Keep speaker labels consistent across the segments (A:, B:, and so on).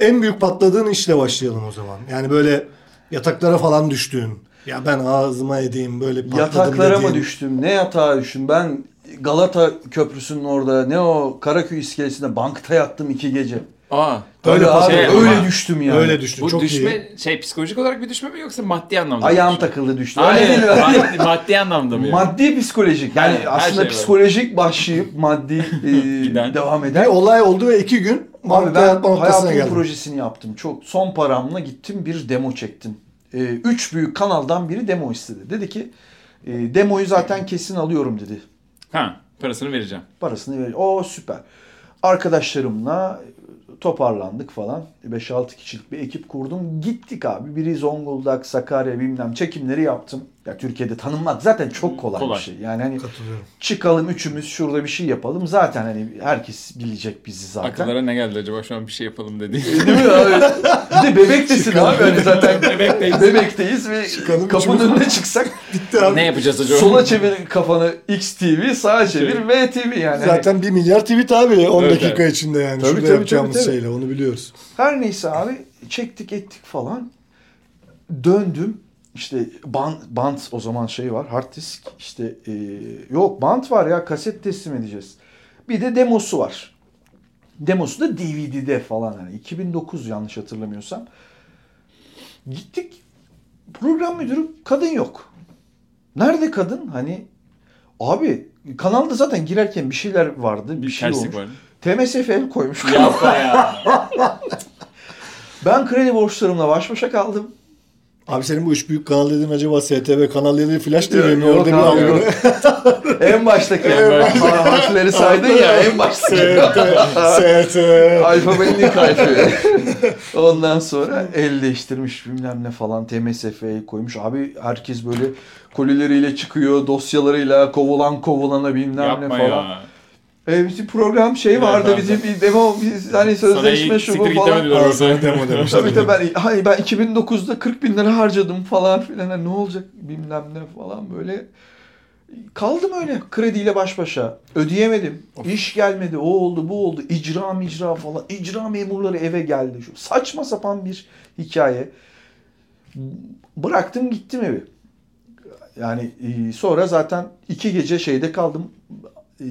A: en büyük patladığın işle başlayalım o zaman. Yani böyle yataklara falan düştüğün. Ya ben ağzıma edeyim böyle patladım
B: Yataklara mı
A: dediğin.
B: düştüm? Ne yatağa düştüm? Ben Galata Köprüsü'nün orada ne o Karaköy iskelesinde bankta yattım iki gece.
C: Aa.
A: Öyle
B: Öyle abi,
A: patladı.
B: öyle
C: Ama
B: düştüm yani.
A: Öyle düştün.
C: Bu
A: çok
C: düşme
A: iyi.
C: şey psikolojik olarak bir düşme mi yoksa maddi anlamda? mı
B: Ayağım
C: düşme?
B: takıldı düştü. Öyle
C: Hayır,
B: değil mi?
C: maddi, maddi anlamda mı? yani?
B: Maddi psikolojik. Yani
C: He, her
B: aslında
C: şey var.
B: psikolojik başlayıp maddi e,
C: Giden.
B: devam eden.
A: Ve olay oldu ve iki gün
B: Abi
A: bankta
B: ben
A: yatma noktasına
B: hayatımın
A: geldim.
B: projesini yaptım. Çok son paramla gittim bir demo çektim. E, üç büyük kanaldan biri demo istedi. Dedi ki e, demoyu zaten kesin alıyorum dedi.
C: Ha, parasını vereceğim.
B: Parasını ver. O süper. Arkadaşlarımla e, toparlandık falan. 5-6 kişilik bir ekip kurdum. Gittik abi. Biri Zonguldak, Sakarya bilmem çekimleri yaptım. Ya Türkiye'de tanınmak zaten çok kolay,
C: Kolay.
B: bir şey. Yani hani
A: Katılıyorum.
B: çıkalım üçümüz şurada bir şey yapalım. Zaten hani herkes bilecek bizi zaten.
C: Akıllara ne geldi acaba şu an bir şey yapalım dedi.
B: Değil mi abi? Bir de bebektesin abi. Hani zaten
C: Bebekteyiz.
B: bebekteyiz ve
A: Çıkalım
B: kapının
A: üçümüz.
B: önüne çıksak
A: Bitti abi.
C: ne yapacağız acaba?
B: sola çevir kafanı XTV, sağa çevir VTV yani. Hani-
A: Şey- Zaten bir milyar tweet abi 10
C: Evet,
A: dakika içinde yani.
B: Tabii,
A: Şurada
B: tabii,
A: yapacağımız
B: tabii, tabii.
A: şeyle onu biliyoruz.
B: Her neyse abi çektik ettik falan. Döndüm. İşte band, band o zaman şey var. Hard disk işte e, yok band var ya kaset teslim edeceğiz. Bir de demosu var. Demosu da DVD'de falan hani 2009 yanlış hatırlamıyorsam. Gittik program müdürü kadın yok. Nerede kadın? Hani abi kanalda zaten girerken bir şeyler vardı. Bir,
C: Bir
B: şey olmuş.
C: terslik var.
B: TMSF el koymuş.
C: Yapma ya.
B: Ben kredi borçlarımla baş başa kaldım.
A: Abi senin bu üç büyük kanal dediğin acaba STV kanal dediğin flash TV mi?
B: Yok
A: Orada bir
B: abi, yok.
A: algı.
B: en baştaki
C: Evet.
B: Ha- harfleri saydın ya en baştaki.
A: STV.
B: Alfabenin ilk harfi. Ondan sonra elleştirmiş bilmem ne falan TMSF'ye koymuş. Abi herkes böyle kolileriyle çıkıyor, dosyalarıyla kovulan kovulana bilmem ne
C: Yapma
B: falan.
C: ya.
B: E, bizim program şey
C: Evet,
B: vardı
C: evet.
B: bizim bir demo biz hani sözleşme şu bu falan.
A: Ağzına demo demiş.
B: Tabii tabii ben, hayır ben 2009'da 40 bin lira harcadım falan filan Hani ne olacak bilmem ne falan böyle. Kaldım öyle krediyle baş başa. Ödeyemedim. İş gelmedi. O oldu bu oldu. İcra micra falan. İcra memurları eve geldi. Şu saçma sapan bir hikaye. Bıraktım gittim evi. Yani e, sonra zaten iki gece şeyde kaldım. E,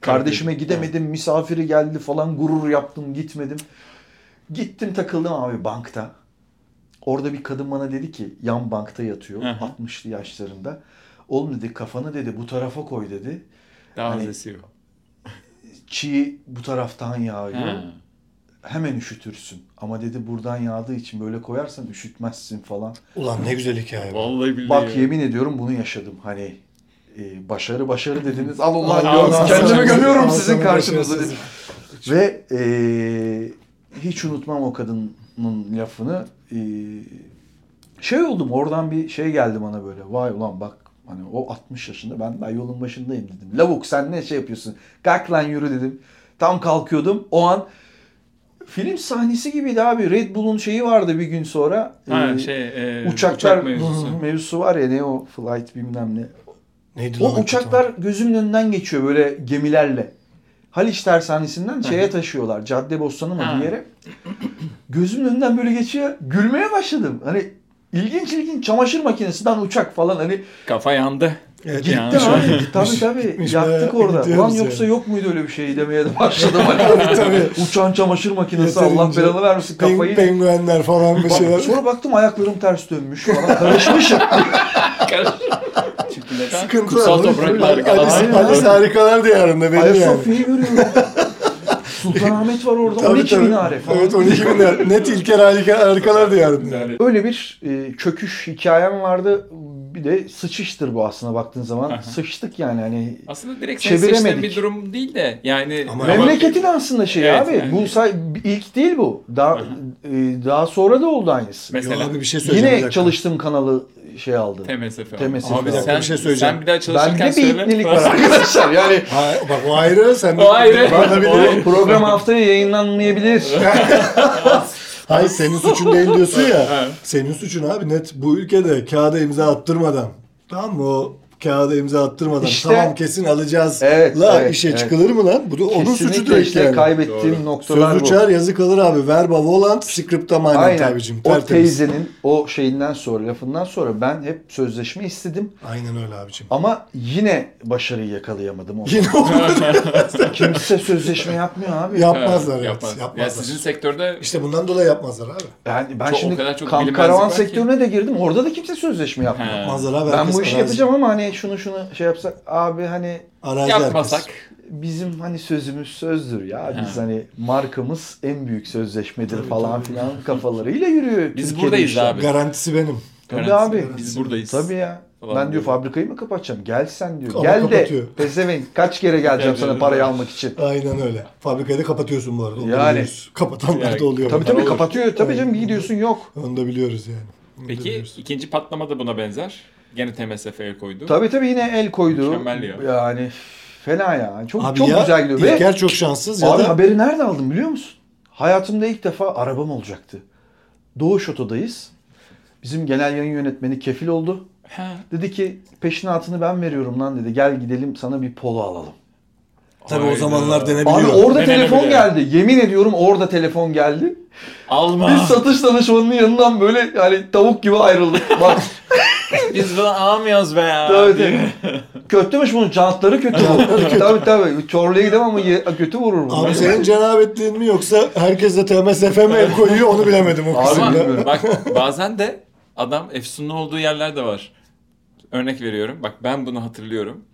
B: Kardeşime gidemedim. Misafiri geldi falan. Gurur yaptım gitmedim. Gittim takıldım abi bankta. Orada bir kadın bana dedi ki yan bankta yatıyor
C: Hı hı.
B: 60'lı yaşlarında. Oğlum dedi kafanı dedi bu tarafa koy dedi.
C: Daha
B: Hani-
C: sesi yok.
B: Çiğ bu taraftan yağıyor.
C: Ha.
B: Hemen üşütürsün. Ama dedi buradan yağdığı için böyle koyarsan üşütmezsin falan.
A: Ulan ne güzel hikaye. bu.
C: Vallahi billahi.
B: Bak
C: ya.
B: yemin ediyorum bunu yaşadım. Hani e, başarı başarı dediniz. Al ulan
C: Al,
B: diyorum.
C: al, al,
B: Kendimi
C: al,
B: görüyorum
A: al,
B: sizin
A: al,
B: karşınızda.
A: al,
B: dedim. Ve e, hiç unutmam o kadının lafını. E, şey oldum oradan bir şey geldi bana böyle. Vay ulan bak hani o 60 yaşında ben daha yolun başındayım dedim. Lavuk sen ne şey yapıyorsun? Kalk lan yürü dedim. Tam kalkıyordum. O an film sahnesi gibiydi abi. Red Bull'un şeyi vardı bir gün sonra.
C: Ha
B: E,
C: şey e,
B: uçaklar
C: uçak mevzusu.
B: mevzusu var ya ne o flight bilmem ne.
A: Neydi lan
B: O
A: hakikaten?
B: uçaklar gözümün önünden geçiyor böyle gemilerle. Haliç tersanesinden şeye taşıyorlar. Caddebostan'ı mı
C: Ha.
B: bir yere. Gözümün önünden böyle geçiyor. Gülmeye başladım. Hani ilginç ilginç çamaşır makinesinden uçak falan hani
C: Kafa yandı.
A: Evet,
B: gitti
C: yanlış
B: abi.
A: oldu.
B: Tabii
A: Gitmiş,
B: tabii.
A: gitmiş,
B: Yaktık
A: bayağı
B: orada. Ulan
A: gidiyoruz
B: yoksa
A: yani.
B: yok muydu öyle bir şey demeye de başladım. Hani
A: Tabii tabii.
B: uçan çamaşır makinesi Allah
A: Yeterince
B: belanı vermesin
A: Peng-
B: kafayı.
A: penguenler falan bir
B: Bak-
A: şeyler.
B: sonra baktım ayaklarım ters dönmüş falan. Karışmışım.
C: Çünkü neden?
A: Sıkıntı
C: Kutsal
A: var.
C: topraklar
A: Alice-
C: Galatasaray.
A: Alice harikalar diyarında belli yani.
B: Ayasofya'yı görüyorum. Sultanahmet var orada.
A: Tabii,
B: 12
A: tabii.
B: minare falan.
A: Evet 12 bin lira. Net İlker harika, harikalar diyarında.
B: Öyle bir e, çöküş hikayem vardı. Bir de sıçıştır bu aslında baktığın zaman.
C: Aha.
B: Sıçtık yani hani.
C: Aslında direkt sen seçtiğin
B: Çeviremedik.
C: bir durum değil de yani
A: Ama-
B: Memleketin aslında şeyi
C: Evet,
B: abi.
C: yani.
B: Bu say- ilk değil bu. Daha
C: Aha.
B: e, daha sonra da oldu aynısı.
A: Yo,
C: mesela
A: abi bir şey söyleyeceğim. bir
B: Yine
A: dakika.
B: çalıştığım kanalı şey aldı.
C: TMSF.
B: TMSF.
A: Abi bir dakika, bir şey söyleyeceğim.
C: Sen bir daha çalışırken
B: Bende bir
C: söyle.
B: ipnilik var arkadaşlar. Yani
A: Ha, bak o ayrı. Sen
C: O ayrı.
A: Bana bir de-
C: O ayrı.
B: program haftaya yayınlanmayabilir.
A: Hayır senin suçun değil diyorsun ya.
C: Evet.
A: senin suçun abi net bu ülkede kağıda imza attırmadan. Tamam mı o kağıda imza attırmadan
B: İşte-
A: tamam kesin alacağız
B: Evet,
A: la
B: evet,
A: işe
B: evet.
A: çıkılır mı lan? Bu da onun suçu
B: Kesinlikle
A: direkt
B: işte
A: yani.
B: kaybettiğim
D: Doğru.
B: noktalar
A: Söz
B: bu.
A: uçar yazı kalır abi. Verba volant, scripta manen
B: Aynen.
A: abicim.
B: O
A: Tertemiz.
B: teyzenin o şeyinden sonra, lafından sonra ben hep sözleşme istedim
A: Aynen öyle abicim.
B: ama yine başarıyı yakalayamadım. Onu.
A: Yine olmadı.
B: Kimse sözleşme yapmıyor abi.
A: yapmazlar evet.
C: Yapmaz. Ya
A: Yapmazlar.
C: sizin sektörde
A: İşte bundan dolayı yapmazlar abi.
B: Yani ben
C: Çok- o
B: şimdi
C: kadar çok
B: kamp
C: bilinmezlik
B: karavan
C: var ki.
B: sektörüne de girdim. Orada da kimse sözleşme yapmıyor.
C: He.
A: Yapmazlar abi.
B: Ben
A: herkes
B: bu işi
A: arazi.
B: yapacağım ama hani şunu şunu şey yapsak abi hani
A: Arazi
C: yapmasak
A: herkes.
B: bizim hani sözümüz sözdür ya. Biz
C: He.
B: hani markamız en büyük sözleşmedir
A: Tabii,
B: falan
A: tabii.
B: filan kafalarıyla yürüyor.
C: Biz
B: Türkiye'de
C: buradayız
B: işler.
C: abi.
A: Garantisi benim.
B: Tabii abi.
C: Biz buradayız.
B: Tabii ya.
C: Falan
B: ben diyor
C: diyor.
B: fabrikayı mı kapatacağım? Gel sen diyor.
A: Ama
B: Gel
A: kapatıyor.
B: de pezevenk kaç kere geleceğim sana
C: Gel
B: parayı
C: diyor.
B: almak için.
A: Aynen öyle. Fabrikayı da kapatıyorsun bu arada. Onu da
B: Yani.
A: biliyoruz. Kapatanlar
C: Yani.
A: da oluyor.
B: Tabii
C: Para
B: tabii
C: olur.
B: kapatıyor. Tabii
A: Evet.
B: canım gidiyorsun yok.
A: Onu da biliyoruz yani. Onu da
C: Peki
A: biliyoruz.
C: ikinci patlama da buna benzer. Gene TMSF'ye koydu.
B: Tabii tabii yine el koydu.
C: Mükemmel ya.
B: Yani fena ya. Çok
A: Abi
B: çok
A: ya
B: güzel gidiyor. Ve
A: İlker çok şanssız ya
B: abi
A: da
B: haberi nerede aldım biliyor musun? Hayatımda ilk defa arabam olacaktı. Doğuş Oto'dayız. Bizim genel yayın yönetmeni kefil oldu.
C: Ha,
B: Dedi ki peşinatını ben veriyorum lan dedi. Gel gidelim sana bir polo alalım.
A: tabii o
C: hayda.
A: zamanlar
B: Abi
A: denebiliyor.
B: orada
C: Ben
B: telefon
C: denebiliyorum.
B: geldi. Yemin ediyorum orada telefon geldi.
C: Alma.
B: Biz satış danışmanının yanından böyle yani tavuk gibi ayrıldık. Bak
C: Biz bunu almıyoruz be ya.
B: Tabii, kötüymüş bunun cantları kötü bu. tabii tabii. Çorlu'ya gidemem ama ye- kötü vurur bunu.
A: Abi senin cenabetliğin mi yoksa herkes de TMSF mi el koyuyor onu bilemedim o
B: Abi,
A: kısımda.
B: bilmiyorum.
C: Ama bak bazen de adam efsunlu olduğu yerler de var. Örnek veriyorum. Bak ben bunu hatırlıyorum.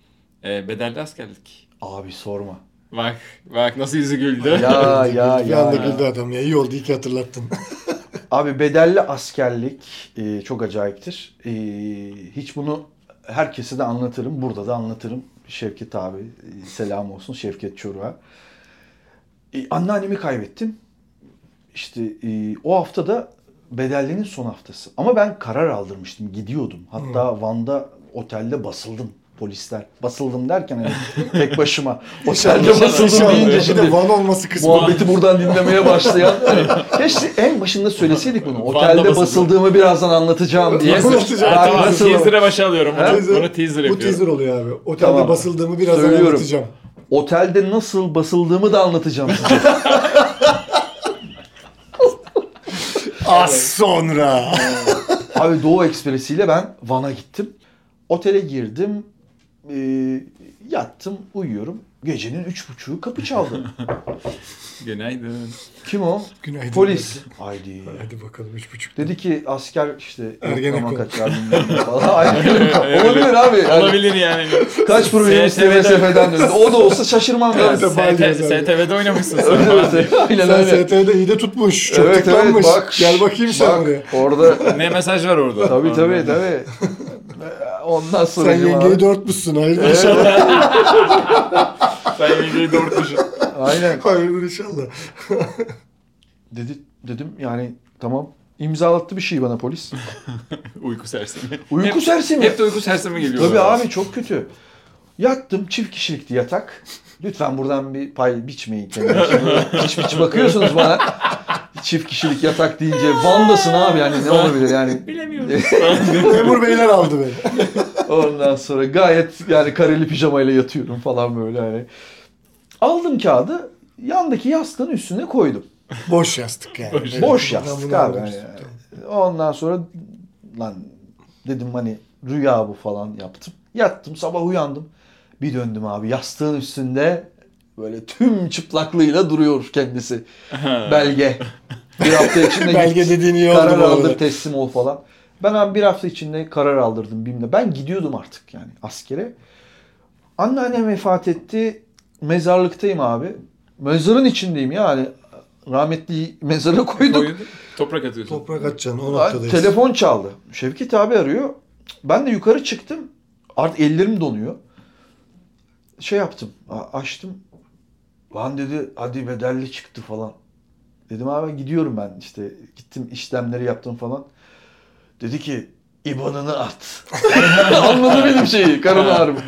C: Ee, bedelli askerlik.
B: Abi sorma.
C: Bak bak nasıl yüzü güldü.
B: Ya ya
A: Bir anda
B: ya.
A: güldü adam ya. İyi oldu iyi ki hatırlattın.
B: Abi bedelli askerlik e, çok acayiptir. E, hiç bunu herkese de anlatırım. Burada da anlatırım. Şevket abi e, selam olsun Şevket Çoruk'a. E, anneannemi kaybettim. İşte e, o hafta da bedellinin son haftası. Ama ben karar aldırmıştım. Gidiyordum. Hatta Van'da otelde basıldım. Polisler. Basıldım derken hani tek başıma. Otelde basıldım
A: İnşallah.
B: deyince
A: Bir
B: şimdi
A: de van olması kısmı.
B: Muhabbeti buradan dinlemeye başlayan. Keşke en başında söyleseydik bunu.
C: Van'da
B: Otelde
C: basıldı.
B: basıldığımı birazdan anlatacağım diye.
A: Teaser.
C: Teaser. Ha,
B: Bak
C: tamam,
B: nasıl-
C: teaser'a başa alıyorum bunu.
A: Teaser-
C: bunu teaser
A: Bu
C: yapıyorum.
A: teaser oluyor abi. Otelde
B: Tamam.
A: basıldığımı birazdan
B: Söylüyorum.
A: anlatacağım.
B: Otelde nasıl basıldığımı da anlatacağım size.
A: Az sonra.
B: Abi Doğu Ekspresi ile ben Van'a gittim. Otele girdim. e, yattım, uyuyorum. Gecenin üç buçuğu kapı çaldı.
C: Günaydın.
B: Kim o?
A: Günaydın.
B: Polis. Haydi.
A: Hadi bakalım üç buçuk.
B: Dedi ki asker işte
A: Ergenekon.
B: yoklama kaçar bilmem ne falan. Aynen. Olabilir abi. Yani
C: Olabilir yani.
B: Kaç problem
C: STV'den.
B: STV'den döndü. O da olsa şaşırmam
A: Evet,
B: ben.
A: tabii. Bal
C: ST,
A: yazar.
C: STV'de oynamışsın sen.
B: Öyle öyle. Aynen
A: Sen
B: öyle.
A: ST'de iyi de tutmuş. Çok tıklanmış. Gel bakayım sen
B: bak,
A: buraya.
B: Orada
C: ne mesaj var orada?
B: tabii tabii tabii. Ondan sonra
A: Sen yengeyi dörtmüşsün. Hayırdır inşallah.
C: Sen yengeyi doğurtmuşsun.
B: Aynen.
A: Hayırdır inşallah.
B: Dedi dedim yani tamam imzalattı bir şey bana polis.
C: Uyku sersemi.
B: Uyku
C: hep,
B: sersemi.
C: Hep de uyku sersemi geliyor.
B: Tabii abi çok kötü. Yattım çift kişilikti yatak. Lütfen buradan bir pay biçmeyin kendine. Şimdi Biç biç bakıyorsunuz bana. Çift kişilik yatak deyince Van'dasın abi yani ne olabilir yani.
C: Bilemiyorum.
A: Memur beyler aldı beni.
B: Ondan sonra gayet yani kareli pijamayla yatıyorum falan böyle hani. Aldım kağıdı yandaki yastığın üstüne koydum.
A: Boş yastık yani.
C: Boş-
A: Evet,
B: Boş
A: buradan
B: yastık
A: bunu
B: abi.
A: alıyoruz.
B: hani. Ondan sonra lan dedim hani rüya bu falan yaptım. Yattım sabah uyandım. Bir döndüm abi yastığın üstünde böyle tüm çıplaklığıyla duruyor kendisi. Belge. Bir hafta içinde
A: Belge
B: git,
A: dediğin iyi oldu
B: karar
A: bu arada.
B: aldır teslim ol falan. Ben abi bir hafta içinde karar aldırdım BİM'le. Ben gidiyordum artık yani askere. Anneannem vefat etti. Mezarlıktayım abi. Mezarın içindeyim yani. Rahmetli mezara koyduk.
C: Koyun, toprak atıyorsun.
A: Toprak atacaksın o
B: Ay,
A: noktadayız.
B: Telefon çaldı. Şevket abi arıyor. Ben de yukarı çıktım. Artık ellerim donuyor. Şey yaptım. a- Açtım. Lan dedi hadi bedelli çıktı falan. Dedim abi gidiyorum ben işte. Gittim işlemleri yaptım falan. Dedi ki İban'ını at. Anladı benim şeyi. Karın ağrımı.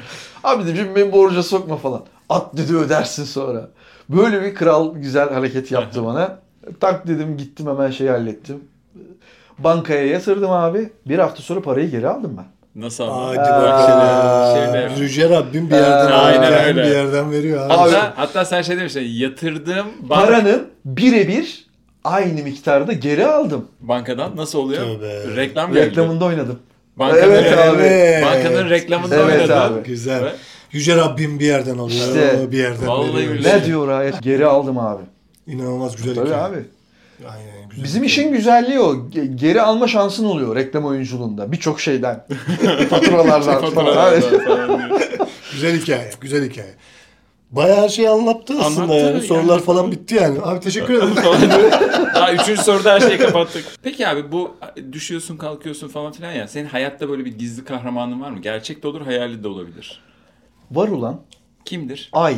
B: Abi dedim şimdi beni borca sokma falan. At dedi ödersin sonra. Böyle bir kral güzel hareket yaptı bana. Tak dedim gittim hemen şeyi hallettim. Bankaya yatırdım abi. Bir hafta sonra parayı geri aldım ben.
C: Nasıl ama?
A: Hadi
C: Böyle
A: bakalım.
C: şeyler- şeyler-
A: Yüce Rabbim bir yerden
B: Aa,
A: alırken
C: aynen öyle.
A: bir yerden veriyor abi.
C: Hatta, hatta sen şey demiştin yatırdığım bank-
B: Paranın birebir aynı miktarda geri aldım.
C: bankadan nasıl oluyor?
A: Tövbe.
C: Reklam geldi.
B: Reklamında oynadım.
C: Bankanın,
B: Evet abi.
C: bankanın reklamında
B: Evet
C: oynadı.
B: abi.
A: Güzel.
C: Ve-
A: Yüce Rabbim bir yerden alıyor,
B: İşte.
A: bir yerden
C: Vallahi
A: veriyor.
C: billahi.
B: Ne diyor ayet? Geri aldım abi.
A: İnanılmaz güzel
B: Tabii
A: hikaye.
B: abi.
A: Aynen, güzel
B: Bizim
A: hikaye.
B: işin güzelliği o. Ge- Geri alma şansın oluyor reklam oyunculuğunda. Birçok şeyden. Faturalardan. falan.
C: Faturalar falan diyor.
A: Güzel hikaye, güzel hikaye. Bayağı her şeyi anlattı aslında
C: Anlattı
A: yani.
C: yani.
A: Sorular falan bitti yani. Abi teşekkür ederim.
C: Daha üçüncü soruda her şeyi kapattık. Peki abi bu düşüyorsun kalkıyorsun falan filan ya. Senin hayatta böyle bir gizli kahramanın var mı? Gerçek de olur hayali de olabilir.
B: Var ulan
C: Kimdir?
B: ay.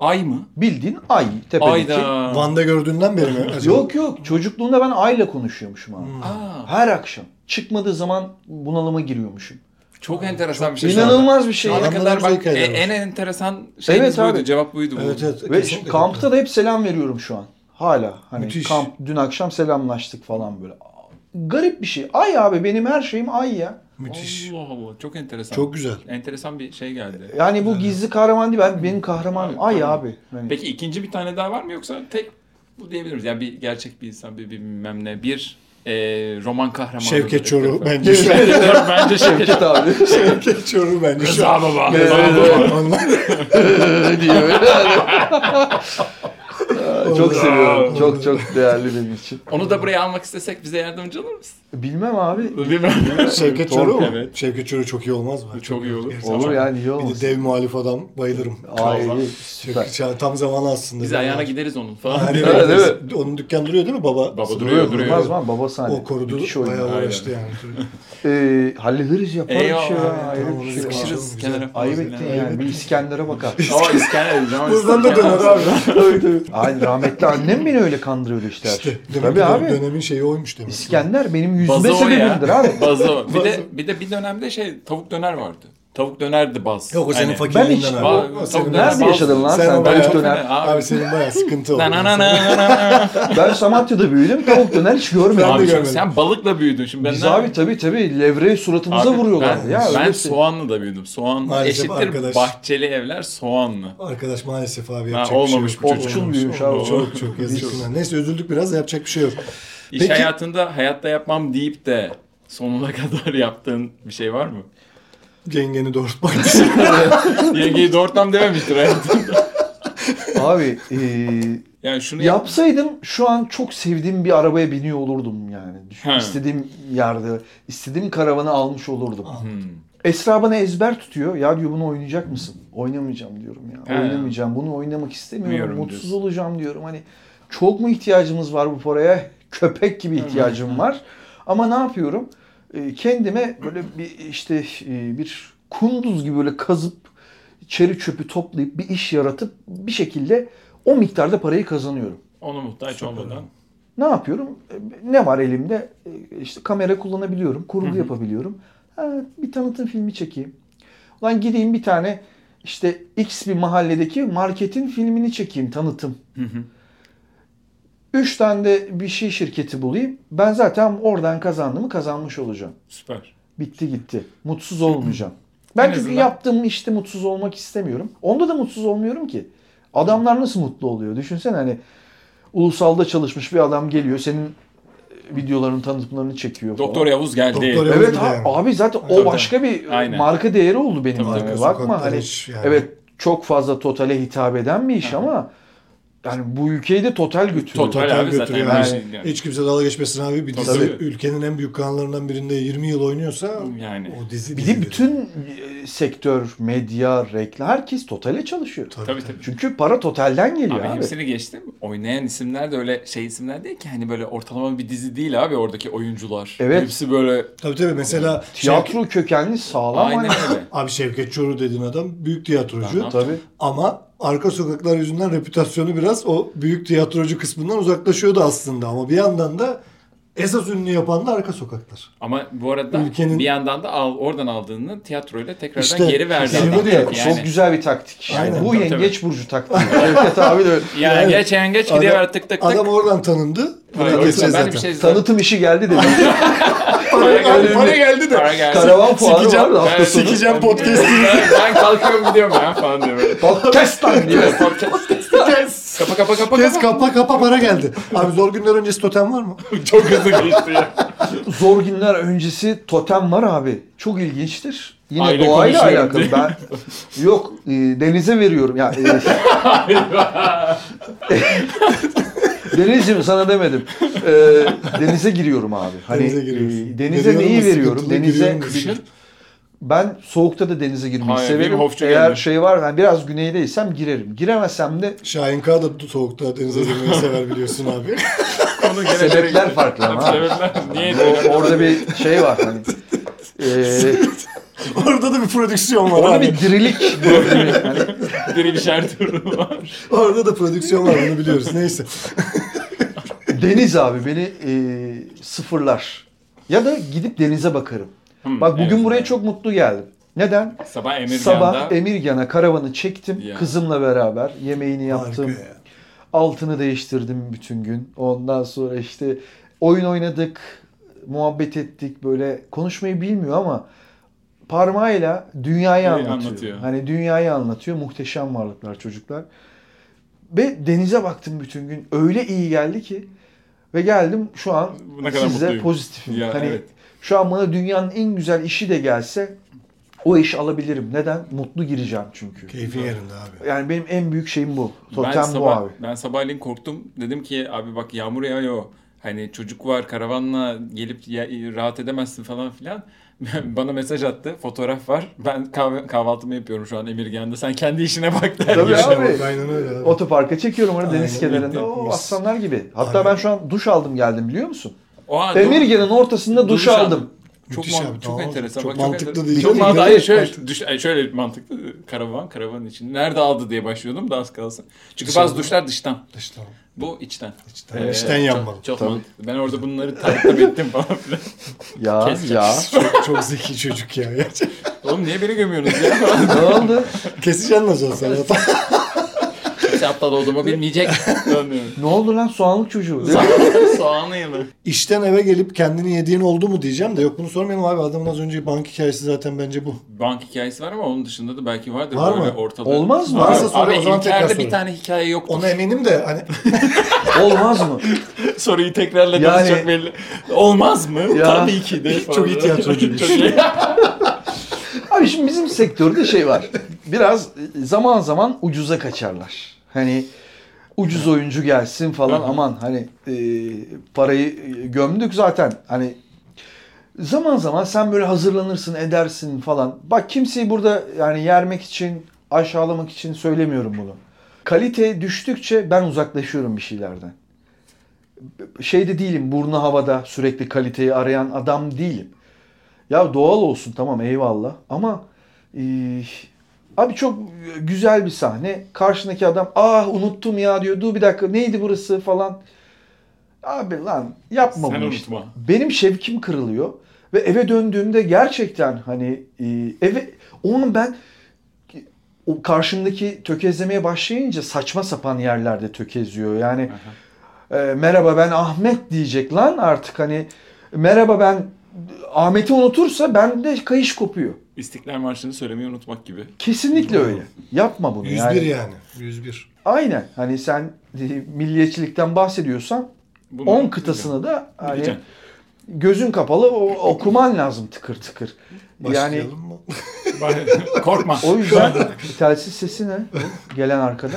C: Ay mı?
B: Bildiğin ay tepedeki.
C: Ayda.
A: Van'da gördüğünden beri mi? acaba?
B: Yok yok. Çocukluğumda ben ayla konuşuyormuşum abi.
C: Aa,
B: Her akşam. Çıkmadığı zaman bunalıma giriyormuşum.
C: çok enteresan bir şey. şu anda.
B: İnanılmaz bir şey. ya.
C: Şu ana
A: Adamların
C: kadar bak
A: zevkleri
C: e-
A: var.
C: en enteresan şeyimiz
B: Evet abi.
C: buydu. Cevap buydu. bu.
A: Evet evet.
B: Ve şu
A: kesinlikle.
B: kampta da hep selam veriyorum şu an. Hala. Hani
A: Müthiş.
B: kamp dün akşam selamlaştık falan böyle. Garip bir şey. Ay abi benim her şeyim ay ya.
A: Müthiş.
C: Allah Allah. Çok enteresan.
A: Çok güzel.
C: Enteresan bir şey geldi.
B: Yani bu gizli kahraman değil ben benim kahramanım
C: Ay,
B: ay
C: tamam.
B: abi. Hani Yani
C: Peki ikinci bir tane daha var mı yoksa tek bu diyebiliriz. Yani bir gerçek bir insan bir, bir bilmem ne bir e, roman kahramanı.
A: Şevket Çoruh
C: bence.
A: bence. şu-
C: Şevket Çoruh bence Şevket
B: Şevket abi.
A: Şevket Çoruh bence. şu-
C: Rıza baba.
B: Evet,
C: Rıza
B: evet.
C: baba.
A: Onlar-
B: diyor. çok seviyorum. Çok çok değerli benim için.
C: Onu da buraya almak istesek bize yardımcı olur musun?
B: Bilmem abi.
C: Bilmem.
A: Şevket
B: Torpil,
A: Çoruh mu?
C: evet.
A: Şevket Çoruh çok iyi olmaz mı?
C: Çok iyi olur.
A: gerçekten.
B: Olur yani iyi
A: Bir de
B: olmaz.
A: dev muhalif adam. Bayılırım.
B: Ay
A: Çünkü
B: süper.
A: ça- tam zamanı aslında.
C: Biz ayağına gideriz onun falan.
A: Hani
B: Evet,
A: evet, Onun dükkan duruyor değil mi baba?
C: Baba duruyor, duruyor.
B: Durmaz mı abi? baba sahne.
A: O korudu
B: Hani Müthiş oyun.
A: bayağı
C: Aynen.
A: uğraştı yani.
B: Ee, hallederiz yaparız
C: Eyvallah.
B: ya.
C: Aynen,
B: Ayrı
A: tamam,
B: bir şey.
A: sıkışırız.
C: Sıkışırız kenara.
B: Ayıp ettin yani. Bir İskender'e bakar.
C: Ama İskender.
A: Buradan da döner abi.
B: Tabii, tabii. Ay, rahmetli annem beni öyle kandırıyordu işte. her şey.
A: Demek
B: Tabii
A: ki
B: abi.
A: dönemin şeyi oymuş demek. ki.
B: İskender benim yüzme
C: Bazı o
B: sebebimdir
C: ya.
B: abi.
C: Bazı o. Bir de,
A: Bazı.
C: bir de bir dönemde şey tavuk döner vardı. Tavuk dönerdi baz.
A: Yok o senin
C: Hani-
B: Ben hiç-
A: fakirliğinden abi.
C: Abi,
A: O senin-
C: tavuk döner
B: Nerede
C: baz.
B: yaşadın lan
A: Sen
B: sen?
A: o
B: tavuk
A: bayağı-
B: döner.
C: Abi.
A: Abi senin bayağı sıkıntı oldu.
C: Na na na na na na.
B: Ben Samatya'da büyüdüm. Tavuk döner hiç görmedim.
A: Ben de
C: Abi
A: görmedim.
C: şimdi sen balıkla büyüdün şimdi. Ben
B: Biz
C: ne-
B: abi tabii tabii levreyi suratımıza
C: Abi
B: vuruyorlar.
C: Ben,
B: ya, öyle
C: ben
B: bir şey.
C: soğanlıda büyüdüm. Soğanlı
A: Maalesef
C: eşittir
A: arkadaş.
C: bahçeli evler soğanlı.
A: Arkadaş maalesef abi
C: Ha,
A: yapacak
C: olmamış
A: bir
C: bu
A: şey yok.
C: çocuk.
A: Olmamış,
B: büyümüş
A: olmamış.
C: abi.
A: Çok çok yazık. günah. Neyse üzüldük biraz da yapacak bir şey yok.
C: İş
A: Peki-
C: hayatında hayatta yapmam deyip de sonuna kadar yaptığın bir şey var mı?
A: Yengeni doğurtmak.
C: Yengeyi doğurtmam dememiştir hayatım.
B: Abi eee,
C: Yani şunu yap.
B: yapsaydım şu an çok sevdiğim bir arabaya biniyor olurdum yani. Düşün,
C: He.
B: İstediğim yerde, istediğim karavanı almış olurdum.
C: Hmm.
B: Esra bana ezber tutuyor. Ya diyor bunu oynayacak mısın? Oynamayacağım diyorum ya.
C: He.
B: Oynamayacağım. Bunu oynamak istemiyorum.
C: Bilmiyorum
B: Mutsuz
C: diyorsun.
B: olacağım diyorum. Hani çok mu ihtiyacımız var bu paraya? Köpek gibi ihtiyacım var. Ama ne yapıyorum? Ee, Kendime böyle bir işte e, bir kunduz gibi böyle kazıp çeri çöpü toplayıp bir iş yaratıp bir şekilde o miktarda parayı kazanıyorum.
C: Onu muhtaç olmadan.
B: Ne yapıyorum? E, Ne var elimde? E, İşte kamera kullanabiliyorum, kurgu yapabiliyorum. Ha, bir tanıtım filmi çekeyim. Ulan gideyim bir tane işte X bir mahalledeki marketin filmini çekeyim tanıtım.
C: Hı hı.
B: Üç tane de bir şey şirketi bulayım. Ben zaten oradan kazandığımı kazanmış olacağım.
C: Süper.
B: Bitti gitti. Mutsuz olmayacağım. Ben
C: En
B: çünkü
C: azından-
B: yaptığım işte mutsuz olmak istemiyorum. Onda da mutsuz olmuyorum ki. Adamlar nasıl mutlu oluyor? Düşünsene hani ulusalda çalışmış bir adam geliyor senin videoların tanıtımlarını çekiyor falan.
C: Doktor Yavuz geldi.
A: Doktor Yavuz.
B: Evet
A: Tabii
B: ha-
A: yani.
B: abi zaten
A: Tabii.
B: o başka bir e,
C: Aynen.
B: marka değeri oldu benim
C: Tabii,
B: için.
A: tabii.
B: Bakma
A: Sokakta
B: hani
A: hiç yani.
B: evet çok fazla totale hitap eden bir iş ama yani bu ülkeyi de total götürüyor.
C: Total.
A: Total
C: abi zaten
A: götürüyor.
C: her
A: Yani
C: şey yani.
A: Hiç kimse dalga geçmesin abi. Bir dizi
C: Tabii.
A: ülkenin en büyük kanallarından birinde 20 yıl oynuyorsa
C: Yani.
A: o dizi
B: Bir
A: dizi
B: de bütün e, sektör, medya, reklam herkes totale çalışıyor.
C: Tabii tabii.
B: Çünkü para totalden geliyor
C: Abi,
B: abi.
C: hepsini geçtim. Oynayan isimler de öyle şey isimler değil ki hani böyle ortalama bir dizi değil abi oradaki oyuncular.
B: Evet.
C: Hepsi böyle
A: Tabii tabii mesela Şevket-
B: Tiyatro kökenli sağlam
C: şey- aynen
B: hani.
C: öyle.
A: abi Şevket Çoruh dediğin adam büyük tiyatrocu.
C: Aha.
B: Tabii.
A: Ama arka sokaklar yüzünden reputasyonu biraz o büyük tiyatrocu kısmından uzaklaşıyordu aslında. Ama bir yandan da Esas ünlü yapan da arka sokaklar.
C: Ama bu arada
A: Ülkenin-
C: bir yandan da al, oradan aldığını tiyatroyla tekrardan
A: İşte,
C: geri verdi.
A: şimdi
C: adam.
B: Diyor ya,
C: Yani-
B: Çok güzel bir taktik.
A: Aynen.
B: Bu
C: Tabii,
B: yengeç burcu taktiği. Şevket abi de öyle.
C: Yani,
A: Yani-
C: geç yengeç
A: Adam-
C: gidiyor tık tık tık.
A: Adam oradan tanındı.
C: Hayır,
A: Buraya
C: o yüzden
A: getireceğiz
C: ben de
A: zaten.
C: bir şey
B: Tanıtım işi geldi dedi.
A: Para,
C: Öyle
A: geldi, para
C: mi?
A: geldi de.
C: Para geldi.
B: Karavan puanı
A: Sikeceğim.
B: var da hafta
C: Ben
B: sonu.
A: sikeceğim. Sikeceğim podcast'i.
C: Ben, ben kalkıyorum gidiyorum ya falan diyor böyle.
B: Podcast lan diyor.
C: Gidiyorum podcast. Kapa kapa kapa.
A: Kes
C: kapa.
A: kapa kapa para geldi. Abi zor günler öncesi totem var mı?
C: Çok hızlı geçti ya.
B: Zor günler öncesi totem var abi. Çok ilginçtir. Yine
C: Aile
B: doğayla
C: konuşuyorum
B: alakalı.
C: diye.
B: Ben yok e, denize veriyorum ya. E, Denizciğim sana demedim. E, denize giriyorum abi. Hani
A: Denize
B: denize,
A: giriyorsun.
B: e,
A: Giriyorum
B: denize
A: da
B: neyi veriyorum?
A: sıkıntılı,
B: Denize
A: giriyorum da
C: Kışın
B: ben soğukta da denize girmeyi
C: Hayır,
B: severim.
C: benim hofçu
B: Eğer
C: gelmiyor.
B: şey var ben biraz güneydeysem girerim. Giremezsem de
A: Şahin K da soğukta denize girmeyi sever biliyorsun abi.
C: konu gene
B: sebepler farklı ama. ha.
C: Sebepler. Niye?
B: O- orada bir şey var hani. E,
A: Orada da bir prodüksiyon var
B: orada
A: abi.
B: bir dirilik problemi. Hani
C: Diri bir şer durumu var.
A: Orada da prodüksiyon var bunu biliyoruz. Neyse.
B: Deniz abi beni e, sıfırlar. Ya da gidip denize bakarım.
C: Hmm,
B: Bak bugün
C: evet.
B: buraya çok mutlu geldim. Neden?
C: Sabah Emir
B: Sabah
C: Sabah
B: Emirgan'a karavanı çektim.
C: Ya.
B: Kızımla beraber yemeğini
A: Harika
B: yaptım.
A: ya.
B: Altını değiştirdim bütün gün. Ondan sonra işte oyun oynadık. Muhabbet ettik. Böyle konuşmayı bilmiyor ama parmağıyla dünyayı
C: Dünyayı
B: anlatıyor.
C: anlatıyor.
B: Hani dünyayı anlatıyor. Muhteşem varlıklar çocuklar. Ve denize baktım bütün gün. Öyle iyi geldi ki. Ve geldim şu an
C: Ne kadar
B: sizle
C: mutluyum.
B: pozitifim.
C: Ya,
B: hani
C: evet.
B: şu an bana dünyanın en güzel işi de gelse o işi alabilirim. Neden? Mutlu gireceğim çünkü.
A: Keyfin yerinde abi.
B: Yani benim en büyük şeyim bu. Totem
C: ben
B: bu
C: sabah,
B: abi.
C: Ben sabahleyin korktum. Dedim ki abi bak yağmur yağıyor. Hani çocuk var karavanla gelip ya- rahat edemezsin falan filan. Bana mesaj attı. Fotoğraf var. Ben kahve, kahvaltımı yapıyorum şu an Emirgan'da. Sen kendi işine bak der.
B: Tabii
C: gibi.
B: abi.
A: Bak, aynen öyle abi.
B: Otoparka çekiyorum onu deniz
A: Aynen,
B: kenarında.
A: bitti.
B: O
A: Mis.
B: aslanlar gibi. Hatta
A: Aynen.
B: ben şu an duş aldım geldim biliyor musun?
C: Oha, dur.
B: Emirgenin ortasında duş,
C: Duş aldım.
B: aldım.
C: Çok,
A: Müthiş
C: man-
A: abi,
C: çok
A: tamam.
C: enteresan.
A: Çok
C: Bak,
A: mantıklı
C: enteresan.
A: değil.
C: Çok
A: Değil,
C: mantıklı.
A: değil.
C: Hayır şöyle, düş, ay, şöyle mantıklı. Karavan, karavanın içinde. Nerede aldı diye başlıyordum da az kalsın. Çünkü bazı
A: Dışarıda.
C: duşlar dıştan.
A: İşte tamam.
C: Bu içten.
A: İçten. İçten yanmalı.
C: Ee, Çok, çok mantıklı. Ben orada bunları takip ettim falan filan.
B: Ya
C: Kes
B: ya.
A: Çok, çok zeki çocuk ya. gerçekten.
C: Oğlum niye beni gömüyorsunuz ya? Falan.
B: ne oldu?
A: Keseceksin nasıl olsa. ya.
C: Kimse aptal olduğumu bilmeyecek. Dönüyorum.
B: Ne oldu lan soğanlık çocuğu?
C: Soğanlı yılı.
A: İşten eve gelip kendini yediğin oldu mu diyeceğim de yok bunu sormayalım abi. Adamın az önceki bank hikayesi zaten bence bu.
C: Bank hikayesi var ama onun dışında da belki vardır.
A: Var mı?
C: böyle Ortada.
B: Olmaz mı?
C: Var.
A: Varsa sonra
C: Abi
A: o zaman tekrar
C: İlker'de
A: sorun.
C: bir tane hikaye yoktur.
A: Ona eminim de hani
B: Olmaz mı?
C: Soruyu
B: Yani-
C: tekrarladığınız çok belli. Olmaz mı?
B: Ya.
C: Tabii ki de. falan.
A: Çok iyi tiyatrocuymuş.
C: Çok iyi.
B: Abi şimdi bizim sektörde şey var. Biraz zaman zaman ucuza kaçarlar. Hani ucuz oyuncu gelsin falan
C: Hı hı.
B: aman hani e, parayı gömdük zaten hani zaman zaman sen böyle hazırlanırsın edersin falan. Bak kimseyi burada yani yermek için aşağılamak için söylemiyorum bunu. Kalite düştükçe ben uzaklaşıyorum bir şeylerden. Şeyde değilim burnu havada sürekli kaliteyi arayan adam değilim. Ya doğal olsun tamam eyvallah ama e, abi çok güzel bir sahne. Karşındaki adam ah unuttum ya diyor. Dur bir dakika neydi burası falan. Abi lan yapma
C: Sen
B: bunu
C: unutma.
B: işte. Benim şevkim kırılıyor ve eve döndüğümde gerçekten hani e, eve o an ben o karşımdaki tökezlemeye başlayınca saçma sapan yerlerde tökezliyor. Yani e, merhaba ben Ahmet diyecek lan artık hani merhaba ben Ahmet'i unutursa bende kayış kopuyor.
C: İstiklal Marşı'nı söylemeyi unutmak gibi.
B: Kesinlikle öyle. Yapma bunu
A: 101
B: yani.
A: yani. 101.
B: Aynen. Hani sen e, milliyetçilikten bahsediyorsan
C: Bunu
B: 10 kıtasını da hani
C: Bileceksin.
B: gözün kapalı o, okuman lazım tıkır tıkır. Yani
A: Başlayalım mı?
C: Korkma.
B: o yüzden telsiz sesi ne? Gelen arkada.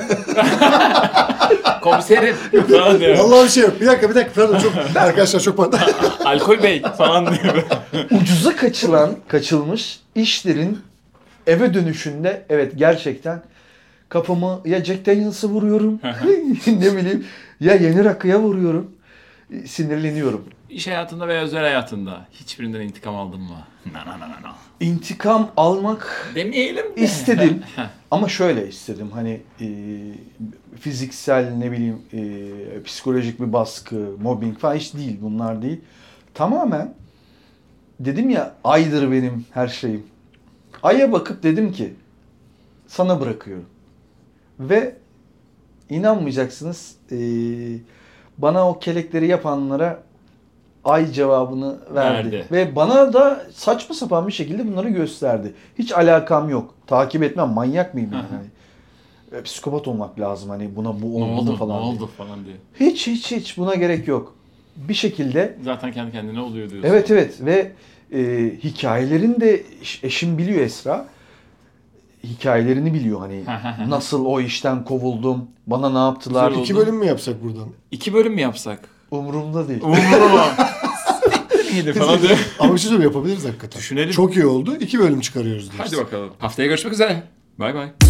C: Komiserim. falan diyor.
A: Vallahi bir şey yok. Bir dakika bir dakika. Pardon çok arkadaşlar çok pardon.
C: Alkol bey falan diyor.
B: ucuza kaçılan, kaçılmış işlerin eve dönüşünde evet gerçekten kafamı ya Jack Daniels'a vuruyorum ne bileyim ya Yeni Rakı'ya vuruyorum. Sinirleniyorum.
C: İş hayatında veya özel hayatında hiçbirinden intikam aldın mı? Na na na na na.
B: İntikam almak
C: Demeyelim de.
B: İstedim.
C: Heh.
B: Ama şöyle istedim hani e, fiziksel ne bileyim e, psikolojik bir baskı, mobbing falan hiç değil bunlar değil. Tamamen dedim ya aydır benim her şeyim. Ay'a bakıp dedim ki sana bırakıyorum. Ve inanmayacaksınız e, bana o kelekleri yapanlara ay cevabını verdi.
C: Verdi.
B: Ve bana da saçma sapan bir şekilde bunları gösterdi. Hiç alakam yok. Takip etmem manyak mıyım yani?
C: Aha.
B: E, Psikopat olmak lazım hani buna bu
C: ne
B: olmadı
C: oldu
B: falan.
C: Ne
B: diye.
C: oldu falan diye.
B: Hiç hiç hiç buna gerek yok. Bir şekilde
C: Zaten kendi kendine oluyor diyorsun.
B: Evet evet ve e, hikayelerini de eş- eşim biliyor Esra. Hikayelerini biliyor hani nasıl o işten kovuldum, bana ne yaptılar.
C: Güzel oldu.
B: Hiç
A: İki bölüm mü yapsak buradan?
C: İki bölüm mü yapsak?
B: umurumda değil.
C: Umurumda. Siktir gidin falan diye.
A: Ama bir şey söyleyeyim, yapabiliriz hakikaten.
C: Düşünelim.
A: Çok iyi oldu. İki bölüm çıkarıyoruz diyoruz.
C: Hadi bakalım. Haftaya görüşmek üzere. Bay bay.